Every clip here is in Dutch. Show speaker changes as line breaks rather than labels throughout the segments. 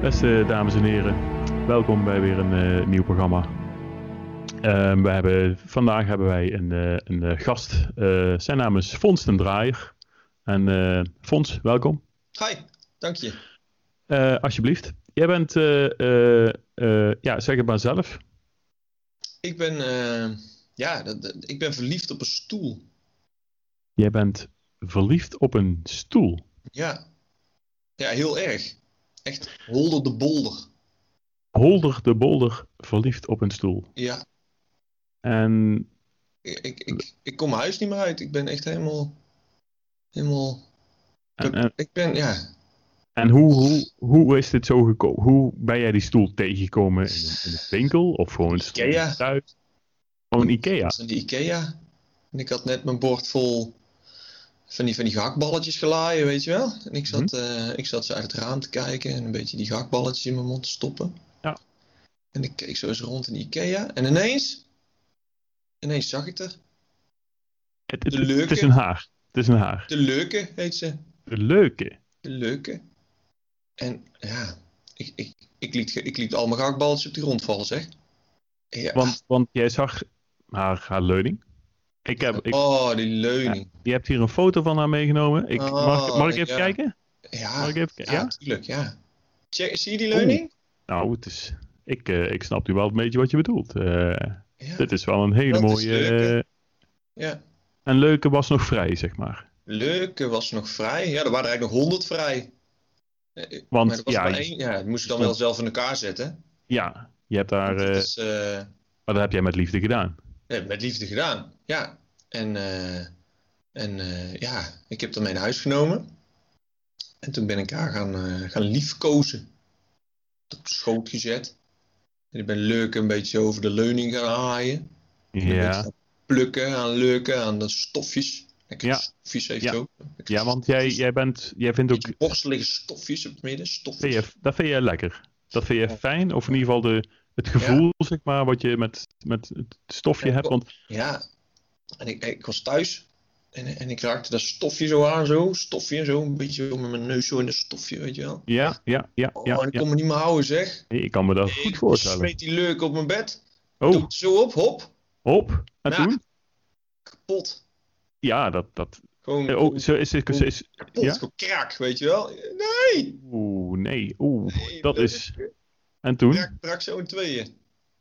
Beste dames en heren, welkom bij weer een eh, nieuw programma. Ehm, we hebben, vandaag hebben wij een, eh, een eh, gast. Eh, zijn naam is Fons den Draaier. En eh, Fons, welkom.
Hi, dank je.
Eh, alsjeblieft. Jij bent, eh, eh, eh, ja, zeg het maar zelf.
Ik ben, eh, ja, dat, dat- ik ben verliefd op een stoel.
Jij bent verliefd op een stoel.
Ja, ja, heel erg. Echt holder de bolder.
Holder de bolder, verliefd op een stoel.
Ja,
En
ik, ik, ik, ik kom mijn huis niet meer uit. Ik ben echt helemaal, helemaal,
En, en,
ik ben, ja.
en hoe, hoe, hoe is dit zo gekomen? Hoe ben jij die stoel tegengekomen? In een, in een winkel of gewoon een stoel
Ikea.
thuis? Gewoon Ikea.
Van die Ikea. En ik had net mijn bord vol van die, van die gehaktballetjes gelaaien, weet je wel. En ik zat,
Mhm.
eh, ik zat zo uit het raam te kijken en een beetje die gehaktballetjes in mijn mond te stoppen.
Ja.
En ik keek zo eens rond in die Ikea. En ineens, ineens zag ik er.
Het, het,
De
het- het
leuke.
is een haar. Het is een haar.
De Leuke heet ze.
De leuke.
De Leuke. En ja, ik, ik, ik, liet, ge- ik liet al mijn gehaktballetjes op de grond vallen, zeg. Ja.
Want, want jij zag haar, haar leuning. Ik heb, ik,
oh, die leuning.
je hebt hier een foto van haar meegenomen. Ik,
Oh,
mag, mag ik even
ja.
kijken?
Ja,
Mag ik
ja,
even kijken? Ja?
tuurlijk, ja. Check, zie je die leuning?
Nou, het is, ik, eh, ik snap nu wel een beetje wat je bedoelt. Eh,
Ja.
dit is wel een hele
Dat is
mooie...
leuke.
eh,
ja.
en leuke was nog vrij, zeg maar.
Leuke was nog vrij. Ja, er waren eigenlijk nog honderd vrij. Eh, maar
Want
er was
ja,
maar
je-
één. ja, dat moest je dan wel zelf in elkaar zetten.
ja, je hebt daar...
Dat
eh,
is, eh,
Maar dat heb jij met liefde gedaan.
nee, met liefde gedaan. Ja. En, eh, en eh, ja, ik heb ermee naar huis genomen. En toen ben ik haar gaan, eh, gaan liefkozen. Op schoot gezet. En ik ben Leuke een beetje over de leuning gaan haaien. Een beetje
Ja,
gaan plukken aan leuken, aan de stofjes. Lekker
Ja.
stofjes heeft
Ja.
ook. Lekker
ja want jij, jij, bent, jij vindt ook.
Die borstelige stofjes op het midden.
Vind
Stofjes.
je, dat vind jij lekker. Dat vind je fijn, of in ieder geval de, het gevoel, zeg maar, wat je met, met het stofje
Ja,
hebt. Want
Ja. En ik, ik was thuis. En, en ik raakte dat stofje zo aan, zo. Stofje en zo. Een beetje zo met mijn neus zo in dat stofje, weet je wel.
ja, ja, ja,
Oh, en
ja,
ik
ja.
kon me niet meer houden, zeg.
Nee, ik kan me dat goed
Ik
voorstellen.
smeet die leuk op mijn bed. Doe
Oh,
het zo op, hop.
hop. En
Nou.
toen?
Kapot.
Ja, dat. dat.
Gewoon
eh, Oh, ze is. ze- ze is
kapot.
ja?
Gewoon kraak, weet je wel. Nee!
Oeh, nee. Oeh,
Nee,
dat
leuk.
is. En toen?
Kraak brak zo in tweeën.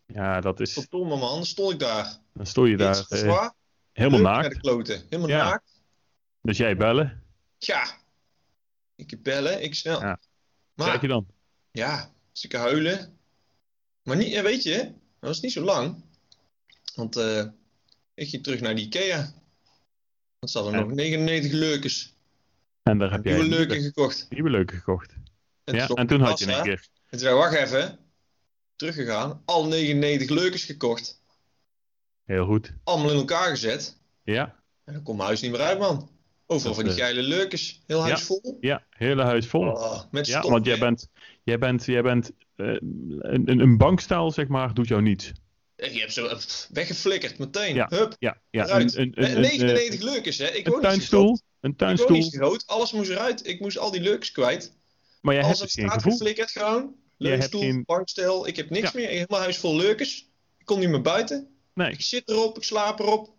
Ja, dat is.
Verdomme man, dan stond ik daar.
Dan stond je daar
Iets te
eh,
zwaar.
helemaal
Leuk naar
naakt.
de kloten. Helemaal
Ja.
naakt.
Dus jij bellen.
Tja, ik bellen, ik snel.
Ja.
Maar
Kijk je dan?
ja, stukken huilen. Maar niet, ja, weet je, dat was niet zo lang. Want eh, ik ging terug naar de Ikea. Want ze hadden
Ja.
nog 99 leukers.
En daar heb jij
Nieuwe
een nieuwe-
leuken gekocht.
nieuwe leuke gekocht.
En
Ja,
stond
en toen
de
had je
kassa.
een keer.
En toen zei ik, wacht even. Teruggegaan, al 99 leukers gekocht.
Heel goed.
Allemaal in elkaar gezet.
Ja,
En dan kon mijn huis niet meer uit, man.
Dat,
Overal van die
eh,
geile leukers. Heel huis
ja.
vol.
ja, hele huis vol.
Oh, met
ja,
stof,
want jij
hè.
bent, jij bent, jij bent eh, een, een- een bankstijl, zeg maar, doet jou niets.
Eh, Je hebt ze pff, weggeflikkerd meteen.
Ja.
Hup.
Ja, ja
Eruit.
een, een,
Eh,
een, een, eh,
99 leukers, hè? Ik
een
woon niet zo groot.
tuinstoel. Een
Ik woon
tuinstoel.
niet zo groot. Alles moest eruit. Ik moest al die leukers kwijt.
Maar jij
Alles
hebt
op
dus geen
straat
gevoel.
geflikkerd gewoon.
Jij hebt
Leukstoel,
geen-
bankstel. Ik heb niks
Ja.
meer. Helemaal huis vol leukers. Ik kon niet meer buiten.
Nee,
Ik zit erop. Ik slaap erop.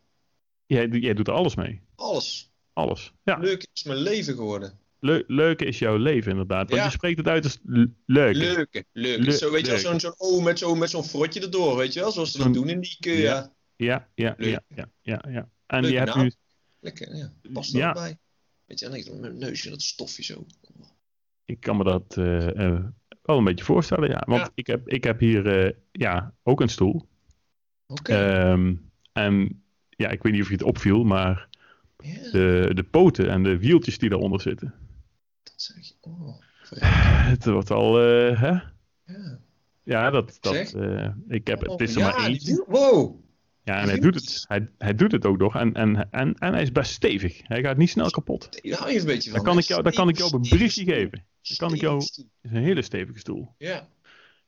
jij, doet- jij doet er alles mee.
Alles.
Alles. Ja,
Leuk is mijn leven geworden.
le leuk is jouw leven inderdaad. Want
Ja.
je spreekt het uit als l- leuk.
Leuke. Leuke.
Leuk-
zo, weet je wel,
leuk.
zo'n zo'n O met zo'n met zo'n frotje erdoor, weet je wel? Zoals ze dat
Zo'n-
doen in die Ikea.
Ja. Ja, ja,
Leuk.
ja, ja, ja, ja. En
Leuk
je hebt
naam.
nu...
Lekker, ja. Past er
Ja.
ook bij. Weet je wel, ik met mijn neusje dat stofje zo.
Ik kan me dat eh, eh, wel een beetje voorstellen, ja. Want
Ja.
Ik, heb, ik heb hier eh, ja, ook een stoel.
Oké.
Ehm, en ja, ik weet niet of je het opviel, maar
ja,
de, de poten en de wieltjes die daaronder zitten.
dat zeg je. Oh,
Het wordt al, eh, hè?
ja.
Ja, dat, dat
Zeg.
eh, ik heb, het is er
Oh,
maar
ja, die
eentje.
doet- Wow.
Ja, en
die
hij doet
wieltjes.
het. Hij, hij doet het ook nog. En, en, en, en hij is best stevig. Hij gaat niet snel kapot.
Daar hou je een beetje van.
Dan kan ik jou, dan kan ik jou op een briefje geven.
Dan
kan ik jou- Het is een hele stevige stoel.
Ja,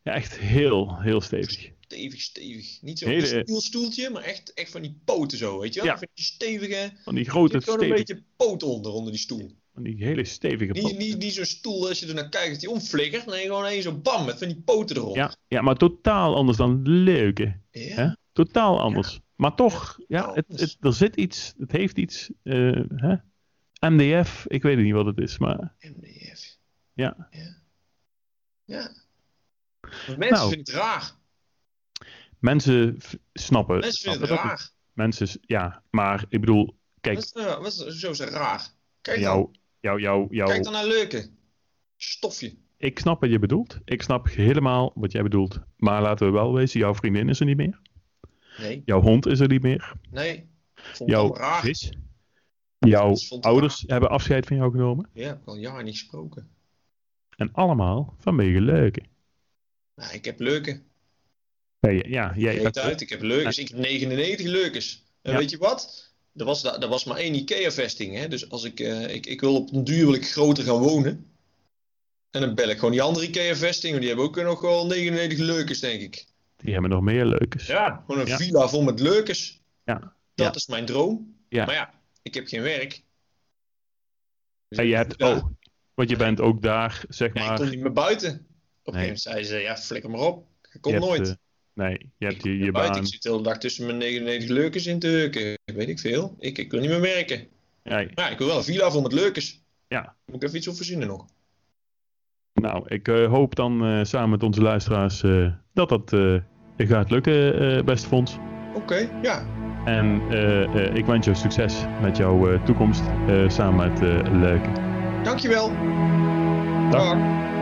Ja, echt heel, heel stevig.
stevig, stevig. Niet zo'n
Hele-
heel stoeltje, maar echt, echt van die poten zo, weet je wel?
Ja.
Van die stevige...
Van die
Er
grote,
zit gewoon een
stevige...
beetje poot onder, onder die stoel.
Van die hele stevige
Niet,
poten.
niet, niet zo'n stoel als je er naar kijkt dat die omflikkert. Nee, gewoon één zo bam met van die poten erop.
Ja, ja, maar totaal anders dan leuke.
Ja.
Hè? Totaal anders. Maar toch, ja,
totaal
het,
anders.
het, er zit iets, het heeft iets. eh, hè? MDF, ik weet niet wat het is, maar
MDF.
Ja.
Ja. Ja. Maar Mensen
Nou.
vinden het raar.
mensen v- snappen.
Mensen vinden
snappen dat
het raar.
Mensen, s- ja, maar ik bedoel, kijk,
Wat is, er- wat is er zo zo raar? Kijk nou dan.
jou, jou, jou, jou.
Kijk dan naar Leuke. Stofje.
Ik snap wat je bedoelt. Ik snap helemaal wat jij bedoelt. Maar laten we wel wezen, jouw vriendin is er niet meer.
Nee.
Jouw hond is er niet meer.
Nee. Vond ik
Jouw
wel raar.
vis. Jouw
Dat vond ik
ouders hebben afscheid van jou genomen.
Ja, heb ik al jaren niet gesproken.
En allemaal vanwege leuke.
Nou, ik heb Leuke.
Nee, ja, jij,
Geet uit, ik heb Leukes. Ik heb 99 Leukes. En
Ja.
weet je wat? Er was, da- er was maar één IKEA-vesting. Hè? Dus als ik, eh, ik, ik wil op een duur wil ik groter gaan wonen. En dan bel ik gewoon die andere IKEA-vesting. Want die hebben ook nog wel 99 Leukes, denk ik.
die hebben nog meer leukes.
Ja. Gewoon een
Ja.
villa vol met Leukes.
Ja.
Dat
Ja.
is mijn droom.
Ja.
Maar ja, ik heb geen werk. Dus
En
ik-
je hebt,
ja.
oh, want je bent ook daar, zeg
Ja, ik
maar.
kon niet meer buiten. Op een gegeven
Nee.
moment zei ze, ja, flikker maar op. Ik
je
kon
hebt,
nooit.
eh, nee, je hebt
kon
je,
niet
je
meer buiten.
baan.
Ik zit de hele dag tussen mijn 99 leukers in te heuken. Weet ik veel. Ik, ik wil niet meer werken.
Nee,
Maar ja, ik wil wel een villa vol met leukers.
Ja.
Moet ik even iets op verzinnen nog.
nou, ik eh, hoop dan eh, samen met onze luisteraars eh, dat dat eh, gaat lukken, eh beste Fons.
Oké, ja.
En eh, eh, ik wens jou succes met jouw eh, toekomst eh, samen met eh Leuke.
Dankjewel.
Dag.
Dag.